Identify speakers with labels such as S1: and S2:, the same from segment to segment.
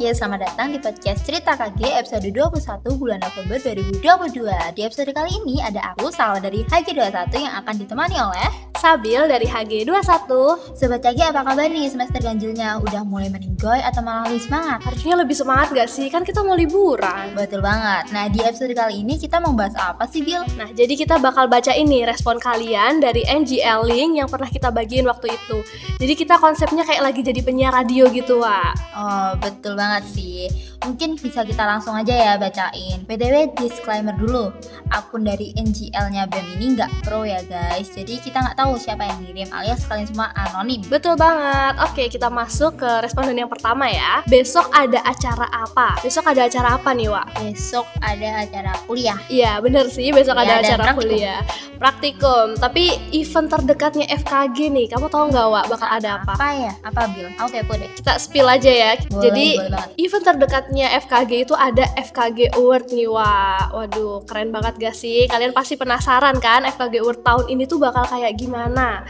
S1: Ya, selamat datang di podcast Cerita KG episode 21 bulan November 2022. Di episode kali ini ada aku, Sal dari HG21 yang akan ditemani oleh
S2: Sabil dari HG21
S1: Sobat KG apa kabar nih semester ganjilnya? Udah mulai meninggoy atau malah lebih semangat?
S2: Harusnya lebih semangat gak sih? Kan kita mau liburan
S1: Betul banget. Nah, di episode kali ini kita mau bahas apa sih, Bil?
S2: Nah jadi kita bakal baca ini respon kalian dari NGL Link yang pernah kita bagiin waktu itu Jadi kita konsepnya kayak lagi jadi penyiar radio gitu Wak
S1: Oh, betul banget sih. Mungkin bisa kita langsung aja ya bacain. PTW disclaimer dulu, akun dari NGL-nya BEM E ini nggak pro ya guys. Jadi kita nggak tahu siapa yang ngirim alias kalian semua anonim.
S2: Betul banget. Oke, kita masuk ke responden yang pertama ya. Besok ada acara apa? Besok ada acara apa nih, Wak?
S1: Besok ada acara kuliah.
S2: Iya, bener sih. Besok
S1: Iya,
S2: ada
S1: ada
S2: acara
S1: praktikum.
S2: kuliah. Praktikum. Tapi event terdekatnya FKG nih. Kamu tahu nggak, Wak, bakal ada apa?
S1: Apa ya? Apa Bil? Aku kepo deh.
S2: Kita spill aja ya.
S1: Boleh,
S2: Jadi
S1: boleh banget.
S2: event terdekatnya FKG itu ada FKG Award nih wah waduh keren banget gak sih kalian pasti penasaran kan FKG Award tahun ini tuh bakal kayak gimana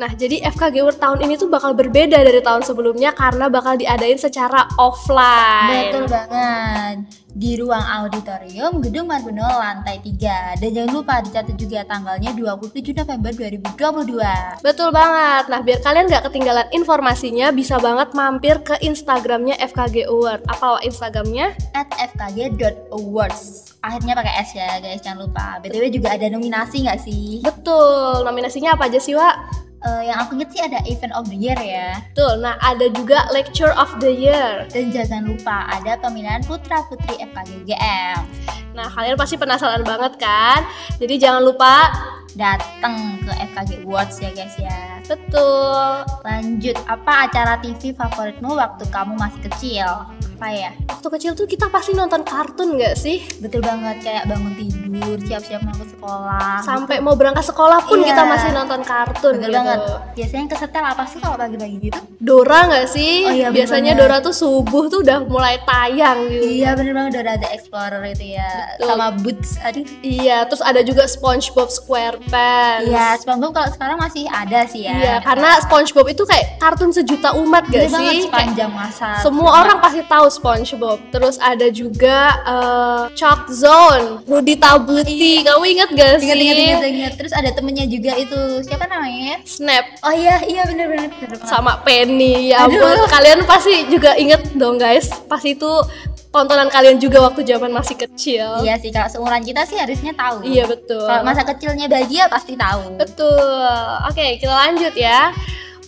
S2: nah jadi FKG Award tahun ini tuh bakal berbeda dari tahun sebelumnya karena bakal diadain secara offline
S1: Betul banget. Di ruang auditorium Gedung Margono lantai 3. Dan jangan lupa dicatat juga tanggalnya 27 November 2022.
S2: Betul banget. Nah, biar kalian nggak ketinggalan informasinya, bisa banget mampir ke Instagramnya FKG Award. Apa Wak, Instagramnya?
S1: at fkg.awards akhirnya pakai S ya guys jangan lupa btw juga ada nominasi nggak sih
S2: Betul. Nominasinya apa aja sih, Wak?
S1: Eh, yang aku inget sih ada event of the year ya
S2: Betul. Nah, ada juga Lecture of the Year.
S1: dan jangan lupa ada pemilihan putra putri FKG UGM
S2: Nah, kalian pasti penasaran banget kan? Jadi jangan lupa,
S1: datang ke FKG Awards ya guys ya
S2: betul.
S1: lanjut apa acara TV favoritmu waktu kamu masih kecil apa ya
S2: Waktu kecil tuh kita pasti nonton kartun nggak sih?
S1: betul banget kayak bangun tidur siap-siap mau ke sekolah
S2: Sampai mau berangkat sekolah
S1: Ah,
S2: pun
S1: Iya.
S2: kita masih nonton kartun
S1: betul
S2: gitu.
S1: banget biasanya yang kesetel apa sih kalau pagi-pagi gitu
S2: Dora nggak sih?
S1: Oh iya, bener
S2: Biasanya
S1: banget.
S2: Dora tuh subuh tuh udah mulai tayang gitu.
S1: Iya bener banget Dora the Explorer itu ya
S2: Betul.
S1: Sama Boots Aduh
S2: Iya, terus ada juga SpongeBob SquarePants.
S1: Iya SpongeBob kalau sekarang masih ada sih ya
S2: Iya, karena SpongeBob itu kayak kartun sejuta umat
S1: Bener
S2: gak
S1: banget
S2: sih? Kayak
S1: sepanjang masa
S2: semua orang pasti tahu SpongeBob. Terus ada juga eh, Chalk Zone, Rudy Tabuti. Kamu ingat gak sih?
S1: Iya. Ingat ingat ingat ingat Terus ada temennya juga itu Siapa namanya
S2: Snap
S1: Oh iya iya bener bener, bener banget.
S2: sama Penny. Ya ampun,
S1: Aduh.
S2: kalian pasti juga inget dong guys. Pasti itu tontonan kalian juga waktu zaman masih kecil.
S1: Iya sih kalau seumuran kita sih harusnya tahu
S2: Iya, betul.
S1: Kalau masa kecilnya bahagia pasti tahu
S2: Betul. Oke, kita lanjut ya.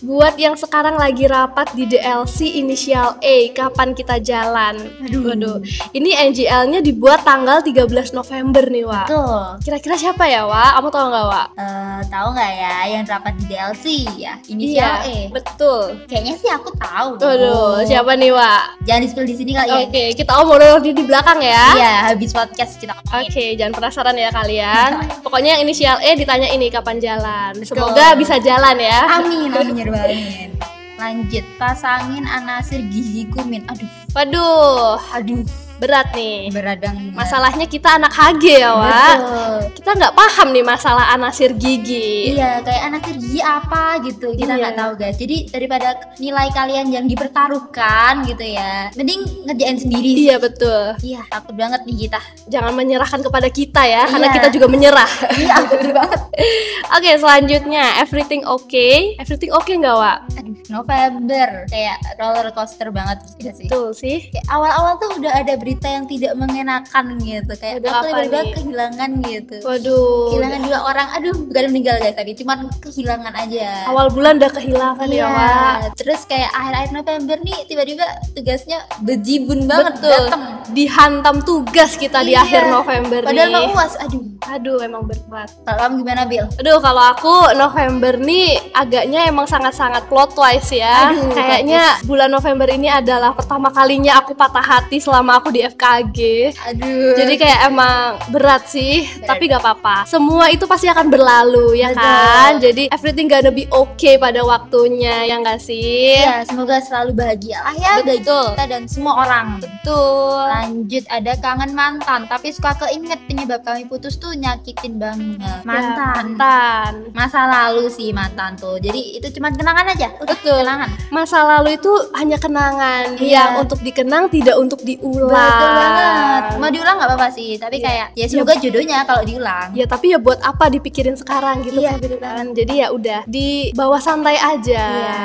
S2: Buat yang sekarang lagi rapat di DLC inisial A, kapan kita jalan?
S1: Aduh.
S2: Waduh. Ini NGL-nya dibuat tanggal 13 November nih, Wak.
S1: Betul
S2: Kira-kira siapa ya, Wak? Kamu tahu nggak, Wak?
S1: Eh, Tahu nggak ya yang rapat di DLC ya Inisial E
S2: Iya. betul.
S1: Kayaknya sih aku tahu
S2: Waduh, siapa nih, Wak?
S1: Jangan di spill di sini kali ya
S2: Oke, kita omong di di belakang ya.
S1: Iya habis podcast kita
S2: Oke, jangan penasaran ya kalian. Pokoknya yang inisial E ditanya ini kapan jalan.
S1: go.
S2: Semoga bisa jalan ya.
S1: Amin, amin ya rabbal alamin. Lanjut, pasangin anasir gizi kumin. Aduh,
S2: Waduh,
S1: aduh,
S2: berat nih.
S1: berat banget.
S2: Masalahnya kita anak HG ya, Wak.
S1: Betul.
S2: Kita nggak paham nih masalah anasir gigi.
S1: Iya, kayak anasir gizi apa gitu. Kita
S2: Iya.
S1: nggak tahu, guys. Jadi daripada nilai kalian yang dipertaruhkan gitu ya. Mending ngerjain sendiri. sih.
S2: Iya betul.
S1: Iya, takut banget nih kita.
S2: Jangan menyerahkan kepada kita ya, karena
S1: Iya.
S2: kita juga menyerah.
S1: Iya, betul banget.
S2: Oke, selanjutnya everything okay. Everything okay nggak, Wak?
S1: Aduh, November kayak roller coaster banget gitu sih.
S2: Betul sih.
S1: Kayak awal-awal tuh udah ada berita yang tidak mengenakan gitu. Kayak aku
S2: Aduh, apa
S1: tiba-tiba
S2: nih?
S1: kehilangan gitu.
S2: Waduh.
S1: kehilangan dua orang aduh bukan meninggal guys tapi cuman kehilangan aja
S2: Awal bulan udah kehilangan
S1: Iya.
S2: ya, Wak.
S1: terus kayak akhir-akhir November nih tiba-tiba tugasnya bejibun banget
S2: Betul.
S1: dateng
S2: Dihantam tugas kita di
S1: Iya.
S2: akhir November
S1: padahal
S2: nih.
S1: mau uas aduh
S2: Aduh, emang berat.
S1: kalau kamu gimana Bil?
S2: Aduh, kalau aku November nih agaknya emang sangat-sangat plot twist ya.
S1: Aduh,
S2: Kayaknya bulan November ini adalah pertama kalinya aku patah hati selama aku di FKG.
S1: Aduh.
S2: Jadi kayak emang berat sih,
S1: Berat.
S2: tapi gak apa-apa. Semua itu pasti akan berlalu ya
S1: Betul.
S2: kan. Jadi everything gonna be okay pada waktunya ya gak sih?
S1: ya semoga selalu bahagia lah ya bagi
S2: Betul.
S1: kita dan semua orang.
S2: Betul.
S1: Lanjut ada kangen mantan, tapi suka keinget penyebab kami putus tuh nyakitin banget.
S2: Ya,
S1: Mantan.
S2: mantan.
S1: Masa lalu sih mantan tuh. Jadi itu cuma kenangan aja. Udah
S2: Betul.
S1: kenangan.
S2: Masa lalu itu hanya kenangan
S1: Iya.
S2: yang untuk dikenang tidak untuk diulang.
S1: Betul banget. Mau diulang nggak apa-apa sih, tapi
S2: Iya.
S1: kayak ya semoga jodohnya kalau diulang.
S2: Ya tapi ya buat apa dipikirin sekarang gitu
S1: Iya,
S2: kan? kan. Jadi ya udah di bawah santai aja.
S1: Iya.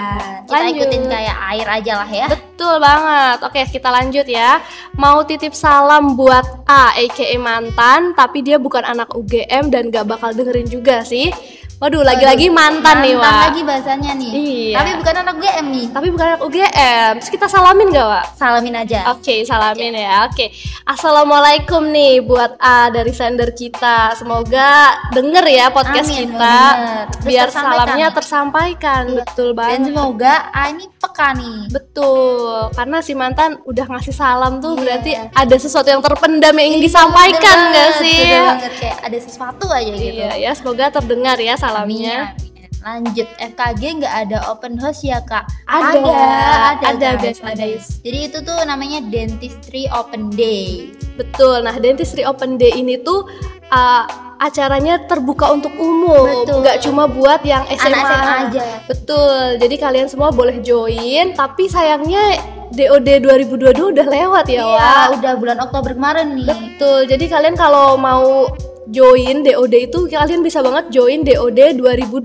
S1: Kita ikutin kayak air aja lah ya.
S2: Betul banget. Oke, kita lanjut ya. Mau titip salam buat A aka mantan, tapi dia bukan anak UGM dan gak bakal dengerin juga sih. Waduh, lagi-lagi mantan, nih, Wak.
S1: lagi bahasanya nih.
S2: Iya.
S1: Tapi bukan anak gue nih.
S2: Tapi bukan anak UGM. Terus kita salamin gak, Wak?
S1: Salamin aja.
S2: Oke, salamin ya. Oke. Assalamualaikum nih buat A dari sender kita. Semoga denger ya podcast
S1: Amin,
S2: kita.
S1: bener. Terus
S2: Biar
S1: tersampaikan
S2: salamnya
S1: nih.
S2: tersampaikan.
S1: Iya.
S2: Betul
S1: Dan
S2: banget.
S1: semoga A ini peka nih.
S2: Betul, karena si mantan udah ngasih salam tuh
S1: Iya.
S2: berarti ada sesuatu yang terpendam yang ingin
S1: Bener
S2: disampaikan nggak
S1: banget,
S2: sih?
S1: bener banget. Kayak ada sesuatu aja gitu.
S2: Iya ya, semoga terdengar ya salamnya.
S1: Amin. Lanjut FKG nggak ada open house ya kak?
S2: Ada,
S1: ada,
S2: ada,
S1: guys,
S2: guys,
S1: ada.
S2: ada.
S1: Jadi itu tuh namanya dentistry open day.
S2: Betul. Nah, Dentistry Open Day ini tuh uh, acaranya terbuka untuk umum,
S1: Betul.
S2: nggak cuma buat yang SMA.
S1: Anak SMA aja.
S2: Betul. Jadi kalian semua boleh join, tapi sayangnya DOD 2022 udah lewat
S1: Iya,
S2: ya, Wak.
S1: udah bulan Oktober kemarin nih.
S2: Betul. Jadi kalian kalau mau join DOD itu kalian bisa banget join DOD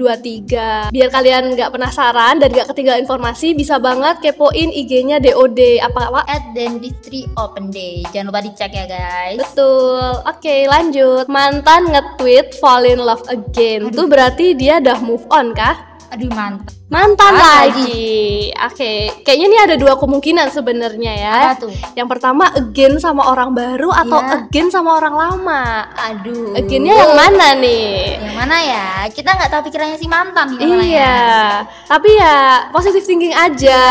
S2: 2023. Biar kalian nggak penasaran dan nggak ketinggalan informasi, bisa banget kepoin IG-nya DOD apa Wak?
S1: At dentistry open day. Jangan lupa dicek ya guys.
S2: Betul. Oke, lanjut. Mantan nge-tweet fall in love again. Itu berarti dia udah move on kah?
S1: Aduh mantap.
S2: Mantan
S1: Ah,
S2: lagi. Oke, kayaknya ini ada dua kemungkinan sebenarnya ya.
S1: Apa tuh?
S2: Yang pertama again sama orang baru atau
S1: Iya.
S2: again sama orang lama?
S1: Aduh.
S2: Againnya yang mana nih?
S1: Yang mana ya? Kita nggak tahu pikirannya si mantan gimana
S2: Iya,
S1: ya.
S2: tapi ya positive thinking aja.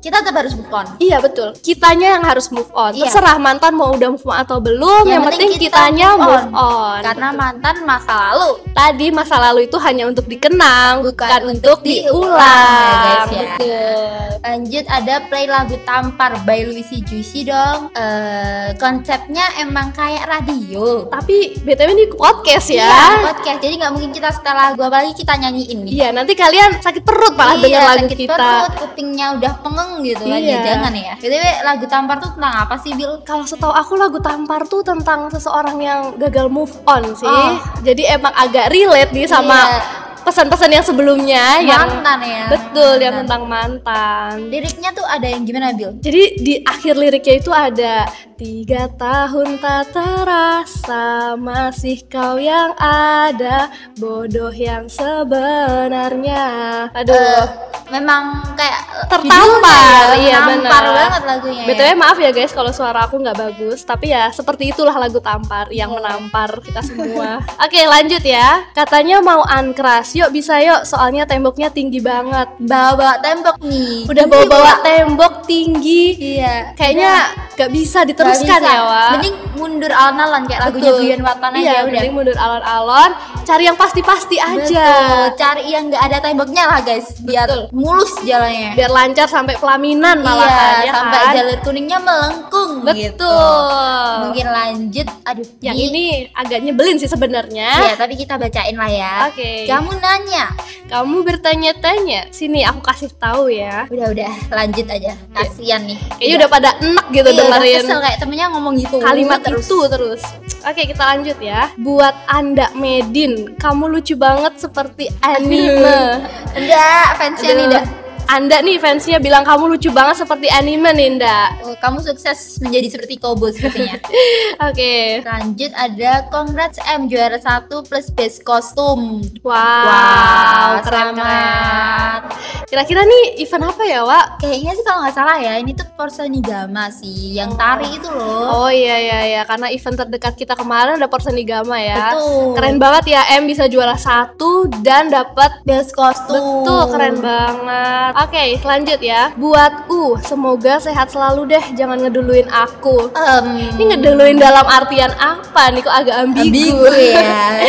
S1: Kita tetap harus move on.
S2: Iya betul. Kitanya yang harus move on.
S1: Iya.
S2: Terserah mantan mau udah move on atau belum, yang, penting, kitanya move on.
S1: Karena
S2: Betul.
S1: mantan masa lalu.
S2: tadi masa lalu itu hanya untuk dikenang, bukan, untuk
S1: diulang, ya
S2: diulang.
S1: guys, ya.
S2: Betul.
S1: Lanjut ada play lagu Tampar by Luisi Juicy dong. Eh konsepnya emang kayak radio.
S2: Tapi btw ini podcast ya.
S1: Iya, podcast. Jadi nggak mungkin kita setel lagu apalagi kita nyanyiin nih.
S2: Iya, nanti kalian sakit perut
S1: Iya,
S2: malah denger lagu
S1: sakit
S2: kita.
S1: perut, kupingnya udah pengeng gitu kan
S2: Iya.
S1: ya jangan ya. BTW lagu Tampar tuh tentang apa sih, Bil?
S2: Kalau setahu aku lagu tampar tuh tentang seseorang yang gagal move on sih.
S1: Oh.
S2: Jadi emang agak relate nih sama
S1: Iya.
S2: pesan-pesan yang sebelumnya Ah, yang
S1: mantan ya.
S2: betul
S1: Mantan.
S2: yang tentang mantan.
S1: Liriknya tuh ada yang gimana, Bil?
S2: Jadi di akhir liriknya itu ada tiga tahun tak terasa masih kau yang ada bodoh yang sebenarnya. Aduh.
S1: Eh, memang kayak eh,
S2: Tertampar,
S1: judulnya
S2: iya,
S1: tertampar
S2: benar.
S1: banget lagunya. ya.
S2: BTW maaf ya guys kalau suara aku nggak bagus Tapi ya seperti itulah lagu tampar yang
S1: Iya.
S2: menampar kita semua Oke lanjut ya Katanya mau uncrush, yuk bisa yuk soalnya temboknya tinggi banget
S1: bawa tembok nih.
S2: Udah
S1: Tinggi
S2: bawa-bawa tembok tinggi
S1: Iya.
S2: Kayaknya nggak bisa diteruskan
S1: Nggak bisa.
S2: ya Wak
S1: Mending mundur alon-alon kayak lagunya
S2: Betul.
S1: Bian Watan aja
S2: iya,
S1: udah.
S2: mending mundur alon-alon cari yang pasti-pasti aja
S1: Betul, cari yang nggak ada temboknya lah guys, biar
S2: Betul.
S1: mulus jalannya.
S2: biar lancar sampai pelaminan malahan
S1: iya,
S2: ya
S1: sampai
S2: kan?
S1: jalur kuningnya melengkung gitu.
S2: betul
S1: Mungkin lanjut, aduh.
S2: yang ini agak nyebelin sih sebenarnya
S1: Ya, tapi kita bacain lah ya.
S2: Oke.
S1: Kamu nanya.
S2: kamu bertanya-tanya sini aku kasih tahu ya
S1: Udah udah, lanjut aja. Kasihan nih.
S2: Iya. kayaknya udah pada enak gitu
S1: Iya, udah
S2: dengerin
S1: kesel kayak temennya ngomong gitu.
S2: kalimat
S1: terus.
S2: itu terus oke kita lanjut ya buat anda Medin kamu lucu banget seperti anime
S1: Enggak, fansnya nih
S2: Aduh.
S1: dah.
S2: anda nih fansnya bilang kamu lucu banget seperti anime nih Nda.
S1: Oh, kamu sukses menjadi seperti Kobo sepertinya.
S2: Oke.
S1: Lanjut ada Congrats M juara 1 plus best kostum.
S2: Wow, keren keren.
S1: selamat.
S2: Kira-kira nih event apa ya, Wak?
S1: Kayaknya sih kalau nggak salah ya, ini tuh Porsenigama sih, yang tari itu loh.
S2: Oh iya iya iya, karena event terdekat kita kemarin ada Porsenigama ya.
S1: Betul.
S2: Keren banget ya, M bisa juara satu dan dapat
S1: Best kostum.
S2: Betul, keren banget. Oke, lanjut ya. Buat U, semoga sehat selalu deh. Jangan ngeduluin aku. Ini ngeduluin dalam artian apa nih? Kok agak ambigu.
S1: Ambigu ya.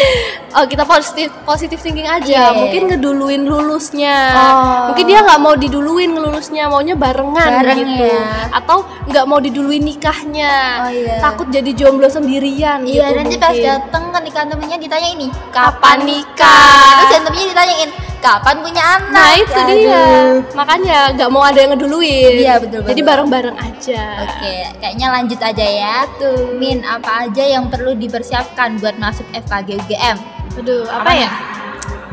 S2: oh, kita positif positif thinking
S1: Iya.
S2: aja. Mungkin ngeduluin lulusnya.
S1: Oh.
S2: Mungkin dia nggak mau diduluin lulusnya, maunya barengan
S1: Bareng
S2: gitu.
S1: ya.
S2: Atau nggak mau diduluin nikahnya.
S1: Oh, iya.
S2: Takut jadi jomblo sendirian.
S1: Iya
S2: gitu
S1: nanti pas
S2: mungkin.
S1: dateng kan di kantornya ditanya ini
S2: Kapan nikah?
S1: Terus kantornya ditanyain kapan punya anak?
S2: Nah itu
S1: Aduh.
S2: dia, makanya nggak mau ada yang ngeduluin.
S1: Iya, betul banget.
S2: Jadi bareng-bareng aja.
S1: Oke, kayaknya lanjut aja ya.
S2: Betul.
S1: Min, apa aja yang perlu dipersiapkan buat masuk FKG UGM?
S2: Aduh, apa,
S1: Apa
S2: ya?
S1: nih?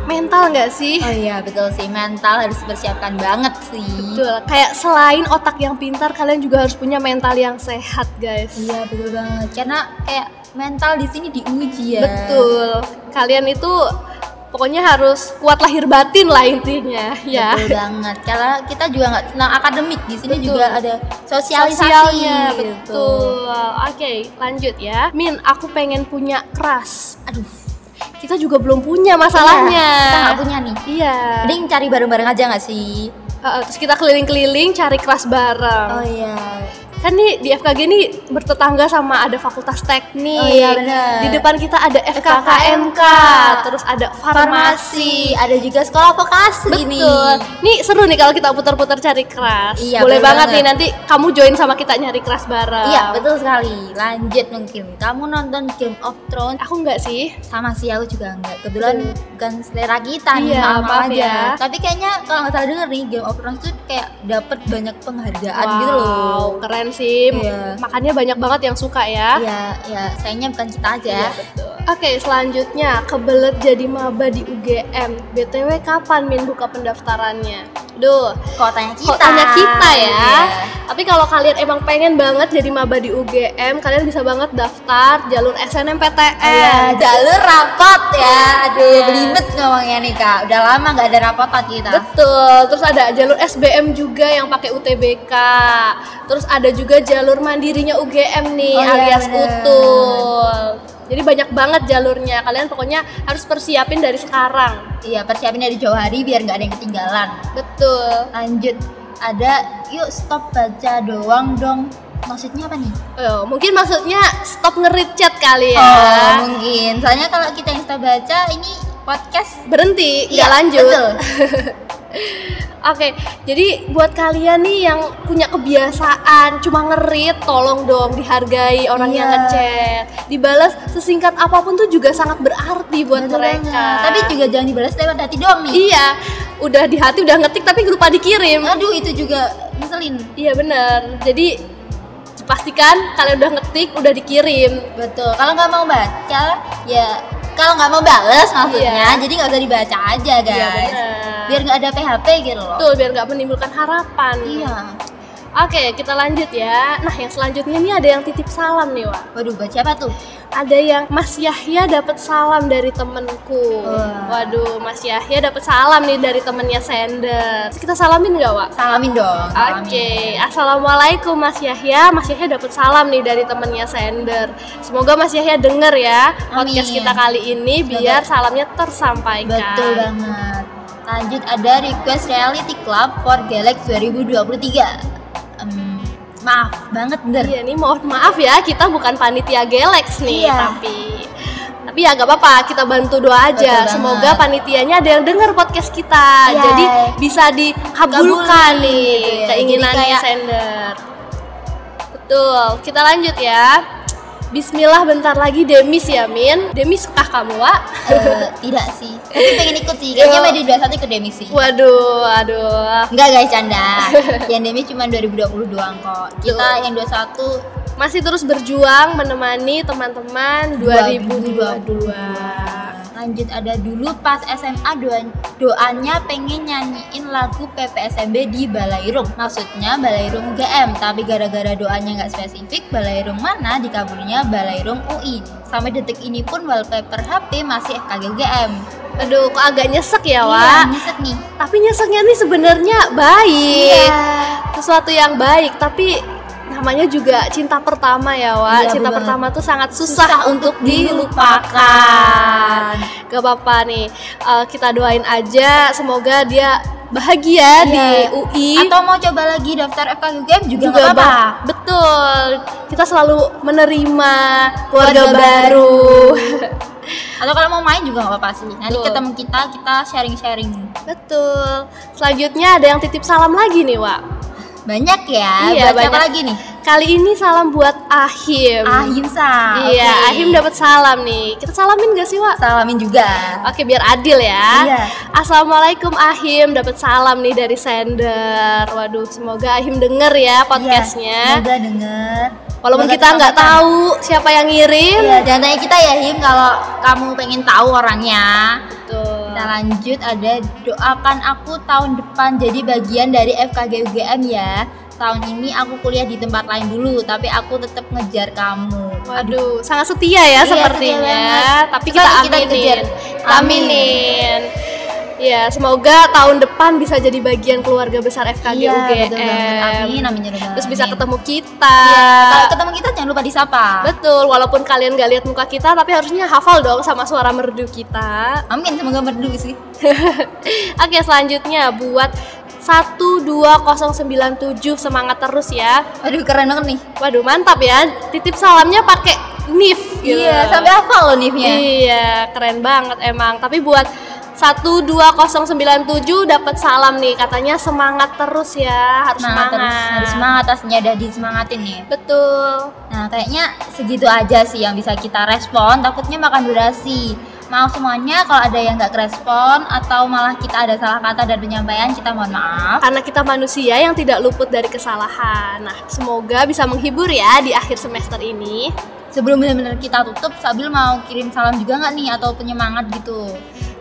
S2: Mental nggak sih?
S1: Oh iya, betul sih. Mental harus dipersiapkan banget sih.
S2: Betul. Kayak selain otak yang pintar, kalian juga harus punya mental yang sehat, guys.
S1: Iya, betul banget. Karena kayak mental di sini diuji ya.
S2: Betul. Kalian itu pokoknya harus kuat lahir batin lah intinya, ya.
S1: Betul banget. Karena kita juga nggak senang akademik di sini
S2: Betul.
S1: juga ada sosialisasi.
S2: Sosialnya,
S1: gitu.
S2: betul. Oke, lanjut ya. Min, aku pengen punya keras.
S1: Aduh,
S2: Kita juga belum punya masalahnya.
S1: iya, Kita nggak punya nih.
S2: Iya.
S1: Mending cari bareng-bareng aja nggak sih?
S2: Uh, terus kita keliling-keliling cari kelas bareng.
S1: iya.
S2: Kan nih di FKG ini bertetangga sama ada fakultas teknik.
S1: Oh iya, benar.
S2: Di depan kita ada FKKMK, terus ada farmasi.
S1: Farmasi, ada juga sekolah vokasi nih.
S2: Betul. Nih seru nih kalau kita putar-putar cari kelas.
S1: Iya,
S2: Boleh
S1: bener
S2: banget,
S1: banget.
S2: nih nanti kamu join sama kita nyari kelas bareng.
S1: Iya, betul sekali. Lanjut mungkin. Kamu nonton Game of Thrones
S2: Aku enggak sih.
S1: sama sih aku juga enggak. Kebetulan
S2: Betul.
S1: bukan selera kita nih,
S2: Iya,
S1: maaf,
S2: maaf
S1: aja.
S2: ya.
S1: Tapi kayaknya kalau nggak salah denger nih Game of Thrones tuh kayak dapet banyak penghargaan
S2: Wow,
S1: gitu loh.
S2: keren sih.
S1: Iya.
S2: Makanya banyak banget yang suka ya.
S1: Iya, ya sayangnya bukan kita aja.
S2: Iya, betul. Oke, selanjutnya kebelet jadi maba di UGM. BTW kapan Min buka pendaftarannya? Duh,
S1: Kok tanya kita?
S2: kok tanya kita ya.
S1: Iya.
S2: Tapi kalau kalian emang pengen banget jadi maba di UGM, kalian bisa banget daftar jalur SNMPTN.
S1: Iya, jalur rapot ya. Aduh,
S2: Iya.
S1: belibet ngomongnya nih Kak. Udah lama nggak ada rapotan kita.
S2: Betul. Terus ada jalur SBM juga yang pakai UTBK. Terus ada juga jalur mandirinya UGM nih
S1: Oh iya,
S2: alias
S1: bener.
S2: utul. Jadi banyak banget jalurnya. Kalian pokoknya harus persiapin dari sekarang.
S1: Iya, persiapin dari jauh hari biar nggak ada yang ketinggalan.
S2: Betul.
S1: Lanjut, ada yuk stop baca doang dong. Maksudnya apa nih?
S2: Eh, mungkin maksudnya stop nge-read-chat kali ya.
S1: Oh, mungkin. Soalnya kalau kita yang stop baca ini podcast
S2: Berhenti,
S1: Iya,
S2: nggak lanjut.
S1: betul.
S2: Oke, jadi buat kalian nih yang punya kebiasaan cuma ngerit, tolong dong dihargai orang yang
S1: Iya.
S2: ngechat. Dibalas sesingkat apapun tuh juga sangat berarti buat
S1: Bener
S2: mereka.
S1: banget. Tapi juga jangan dibalas lewat hati doang nih.
S2: iya, udah di hati udah ngetik tapi lupa dikirim.
S1: Aduh, itu juga ngeselin.
S2: Iya bener. Jadi pastikan kalian udah ngetik, udah dikirim.
S1: Betul. Kalau nggak mau baca, ya kalau nggak mau balas maksudnya,
S2: Iya.
S1: jadi nggak usah dibaca aja guys.
S2: Iya bener.
S1: Biar nggak ada PHP gitu loh.
S2: Betul, biar nggak menimbulkan harapan.
S1: Iya.
S2: Oke, kita lanjut ya. Nah, yang selanjutnya nih ada yang titip salam nih, Wak.
S1: Waduh, buat siapa tuh?
S2: ada yang Mas Yahya dapat salam dari temenku.
S1: Wah.
S2: Waduh, Mas Yahya dapat salam nih dari temennya Sender. Terus kita salamin nggak, Wak?
S1: Salamin dong. salamin.
S2: Oke, assalamualaikum Mas Yahya. Mas Yahya dapat salam nih dari temennya Sender. Semoga Mas Yahya denger ya podcast
S1: Amin.
S2: kita kali ini
S1: Semoga.
S2: biar salamnya tersampaikan.
S1: Betul banget. Lanjut ada request reality club for Galax 2023. Em, maaf banget Nder.
S2: Iya nih, mohon maaf ya kita bukan panitia Galax nih,
S1: Iya.
S2: tapi tapi ya gak apa-apa, kita bantu doa aja.
S1: Betul banget.
S2: Semoga panitianya ada yang dengar podcast kita,
S1: Iya.
S2: jadi bisa dikabulkan
S1: Kabulin,
S2: nih
S1: gitu ya.
S2: keinginannya
S1: Jadi kayak-
S2: sender. Betul, kita lanjut ya. Bismillah bentar lagi Demis ya Min Demis suka kamu Wak?
S1: Eh, tidak sih. Tapi pengen ikut sih. Kayaknya
S2: Yo.
S1: Medi 21 ikut demi sih.
S2: Waduh, aduh
S1: Enggak guys, canda. yang demi cuma 2020 doang kok. Kita
S2: Tuh.
S1: yang 21
S2: Masih terus berjuang menemani teman-teman 2022
S1: Lanjut ada dulu pas SMA doan- doanya pengen nyanyiin lagu PPSMB di Balairung. Maksudnya Balairung UGM, tapi gara-gara doanya nggak spesifik, Balairung mana dikabulnya Balairung UI. Sampai detik ini pun wallpaper HP masih FKG UGM.
S2: Aduh, kok agak nyesek ya,
S1: Iya,
S2: Wak?
S1: nyesek nih. Iya.
S2: Tapi nyeseknya nih sebenarnya baik. Sesuatu yang baik, tapi namanya juga cinta pertama ya Wak
S1: Iya,
S2: cinta
S1: bener.
S2: pertama tuh sangat susah, untuk dilupakan gak apa-apa nih Eh, kita doain aja semoga dia bahagia
S1: Iya.
S2: di UI
S1: Atau mau coba lagi daftar FKG UGM juga,
S2: juga
S1: nggak apa-apa.
S2: ba- betul kita selalu menerima keluarga,
S1: Keluarga
S2: baru,
S1: Atau kalau mau main juga nggak apa-apa sih. Nanti
S2: Betul.
S1: ketemu kita, kita sharing-sharing.
S2: betul selanjutnya ada yang titip salam lagi nih Wak
S1: Banyak ya.
S2: Iya,
S1: Buat siapa
S2: banyak.
S1: lagi nih?
S2: kali ini salam buat Ahim
S1: Ahim Sa.
S2: iya
S1: Oke.
S2: Ahim dapat salam nih kita salamin gak sih Wak
S1: salamin juga.
S2: Oke biar adil ya.
S1: Iya.
S2: Assalamualaikum Ahim, dapat salam nih dari sender. Waduh, semoga Ahim denger ya
S1: Iya.
S2: podcastnya.
S1: Juga denger.
S2: Walaupun
S1: Semoga
S2: kita nggak
S1: tersampaikan.
S2: tahu siapa yang ngirim.
S1: Iya, jangan tanya kita ya Him kalau kamu pengen tahu orangnya.
S2: Betul.
S1: Kita lanjut ada doakan aku tahun depan jadi bagian dari FKG UGM ya. Tahun ini aku kuliah di tempat lain dulu, tapi aku tetap ngejar kamu.
S2: Waduh, sangat setia ya
S1: Iya,
S2: sepertinya.
S1: setia banget.
S2: Tapi
S1: Coba
S2: kita
S1: kita
S2: aminin.
S1: dikejar.
S2: Kita aminin. Ya, semoga tahun depan bisa jadi bagian keluarga besar FKG
S1: Iya,
S2: UGM.
S1: betul banget. Amin, amin ya rabbal
S2: Terus bisa
S1: alamin.
S2: ketemu kita.
S1: Kalau ketemu kita jangan lupa disapa.
S2: Betul, walaupun kalian gak lihat muka kita, tapi harusnya hafal dong sama suara merdu kita.
S1: Amin, semoga merdu sih.
S2: Oke, selanjutnya buat 12097 semangat terus ya.
S1: Aduh, keren banget nih.
S2: Waduh, mantap ya. Titip salamnya pakai NIF gitu.
S1: Iya, sampai hafal loh nifnya.
S2: Iya, keren banget emang. Tapi buat 12097 dapat salam nih, katanya semangat terus ya, harus semangat.
S1: Semangat Nah, terus, harus semangat aslinya udah disemangatin nih.
S2: Betul.
S1: Nah, kayaknya segitu aja sih yang bisa kita respon. Takutnya makan durasi. Maaf semuanya kalau ada yang nggak respon atau malah kita ada salah kata dan penyampaian, kita mohon maaf.
S2: Karena kita manusia yang tidak luput dari kesalahan. Nah, semoga bisa menghibur ya di akhir semester ini.
S1: Sebelum benar-benar kita tutup, Sabil mau kirim salam juga nggak nih atau penyemangat gitu?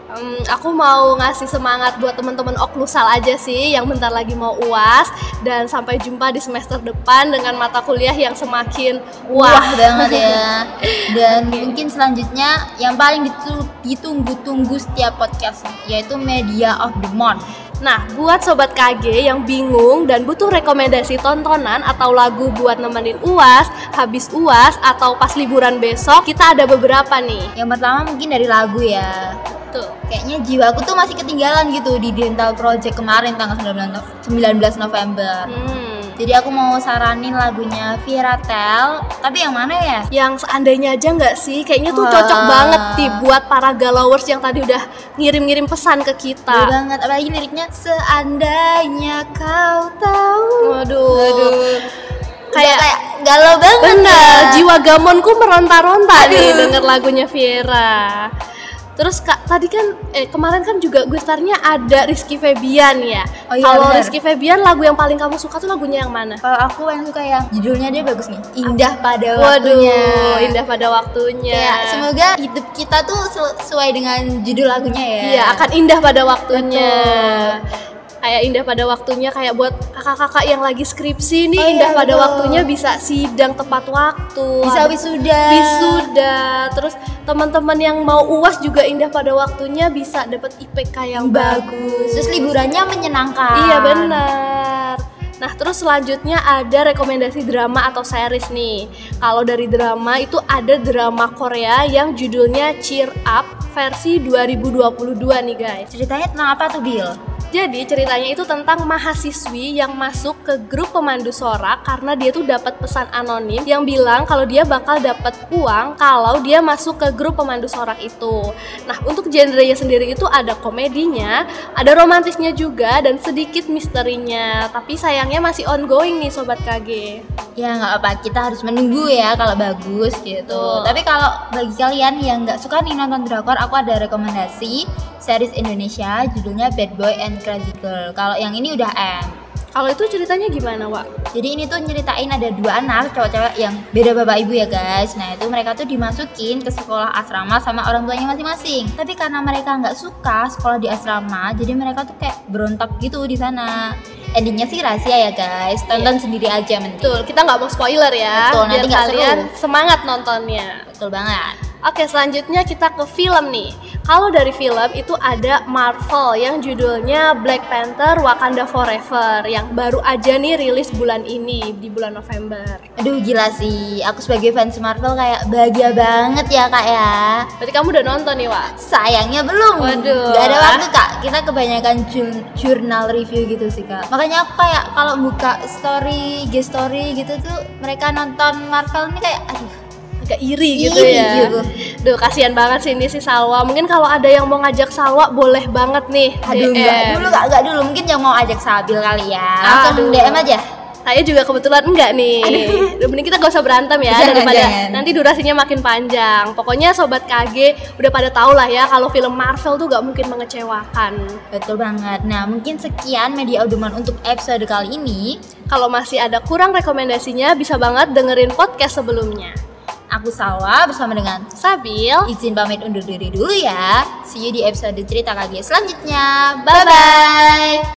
S2: Em, aku mau ngasih semangat buat teman-teman Oklusal aja sih yang bentar lagi mau UAS dan sampai jumpa di semester depan dengan mata kuliah yang semakin
S1: Wah,
S2: wah.
S1: banget ya. Dan mungkin selanjutnya yang paling ditu- ditunggu-tunggu setiap podcast yaitu Media of the Month.
S2: Nah, buat sobat KG yang bingung dan butuh rekomendasi tontonan atau lagu buat nemenin UAS, habis UAS atau pas liburan besok, kita ada beberapa nih.
S1: Yang pertama mungkin dari lagu ya.
S2: Tuh.
S1: Kayaknya jiwaku tuh masih ketinggalan gitu di Dental Project kemarin tanggal 19 Nov- 19 November.
S2: Hmm.
S1: Jadi aku mau saranin lagunya Viratel, tapi yang mana ya?
S2: Yang seandainya aja nggak sih, kayaknya tuh
S1: Wah.
S2: cocok banget nih buat para galawers yang tadi udah ngirim-ngirim pesan ke
S1: Bener
S2: kita.
S1: banget, apalagi liriknya Seandainya kau tahu
S2: Waduh.
S1: Kayak,
S2: Kayak-
S1: kayak galau banget
S2: Bener,
S1: ya.
S2: jiwa gamonku meronta-ronta nih
S1: Aduh.
S2: denger lagunya Viera. Terus kak, tadi kan, eh kemarin kan juga gustarnya ada Rizky Febian ya.
S1: Oh iya,
S2: Kalau
S1: bener.
S2: Rizky Febian lagu yang paling kamu suka tuh lagunya yang mana?
S1: Kalau aku yang suka yang judulnya dia bagus nih Indah pada waktunya Iya,
S2: Waduh, indah pada waktunya.
S1: Kayak semoga hidup kita tuh sesuai dengan judul lagunya ya
S2: Iya, akan indah pada waktunya. Kayak indah pada waktunya kayak buat kakak-kakak yang lagi skripsi nih
S1: Oh iya,
S2: indah pada
S1: betul.
S2: waktunya bisa sidang tepat waktu.
S1: Bisa
S2: Ada-
S1: wisuda
S2: wisuda terus teman-teman yang mau uas juga indah pada waktunya bisa dapat IPK yang bagus
S1: Terus liburannya menyenangkan
S2: iya benar nah terus selanjutnya ada rekomendasi drama atau series nih kalau dari drama itu ada drama Korea yang judulnya Cheer Up versi 2022 nih guys
S1: Ceritanya tentang apa tuh Bill?
S2: jadi ceritanya itu tentang mahasiswi yang masuk ke grup pemandu sorak karena dia tuh dapat pesan anonim yang bilang kalau dia bakal dapat uang kalau dia masuk ke grup pemandu sorak itu. Nah, untuk genrenya sendiri itu ada komedinya, ada romantisnya juga dan sedikit misterinya. Tapi sayangnya masih ongoing nih sobat KG.
S1: Ya nggak apa kita harus menunggu ya kalau bagus gitu.
S2: Betul.
S1: Tapi kalau bagi kalian yang nggak suka nih nonton drakor, aku ada rekomendasi series Indonesia judulnya Bad Boy and Crazy Girl. Kalau yang ini udah end.
S2: Kalau itu ceritanya gimana, Wak?
S1: Jadi ini tuh nyeritain ada dua anak cowok-cowok yang beda bapak ibu ya guys. Nah itu mereka tuh dimasukin ke sekolah asrama sama orang tuanya masing-masing. Tapi karena mereka nggak suka sekolah di asrama, jadi mereka tuh kayak berontak gitu di sana. Endingnya sih rahasia ya guys. Tonton sendiri aja mending.
S2: Betul, kita nggak mau spoiler ya.
S1: Betul, nanti
S2: biar
S1: nggak
S2: kalian
S1: seru.
S2: semangat nontonnya.
S1: Betul banget.
S2: Oke, selanjutnya kita ke film nih. Kalau dari film itu ada Marvel yang judulnya Black Panther Wakanda Forever yang baru aja nih rilis bulan ini di bulan November.
S1: Aduh gila sih, aku sebagai fans Marvel kayak bahagia banget ya kak ya
S2: Berarti kamu udah nonton nih, Wak?
S1: Sayangnya belum,
S2: Waduh.
S1: gak ada waktu kak Kita kebanyakan jur- jurnal review gitu sih kak Makanya aku kayak kalau buka story, G-story gitu tuh Mereka nonton Marvel ini kayak aduh
S2: Agak iri gitu
S1: iri
S2: ya.
S1: gitu.
S2: Duh, kasihan banget sih ini si Salwa. Mungkin kalau ada yang mau ngajak Salwa boleh banget nih.
S1: Aduh
S2: DM.
S1: enggak dulu kak, enggak dulu Mungkin yang mau ajak Sabil kali ya Langsung
S2: Aduh.
S1: DM aja
S2: Saya juga kebetulan enggak nih. Aduh. Mending kita gak usah berantem ya
S1: Jangan,
S2: daripada
S1: jangan.
S2: nanti durasinya makin panjang. Pokoknya sobat KG udah pada tau lah ya kalau film Marvel tuh gak mungkin mengecewakan.
S1: Betul banget. Nah, mungkin sekian media audiman untuk episode kali ini.
S2: Kalau masih ada kurang rekomendasinya bisa banget dengerin podcast sebelumnya.
S1: Aku Salwa bersama dengan
S2: Sabil,
S1: izin pamit undur diri dulu ya. See you di episode cerita KG selanjutnya. Bye bye.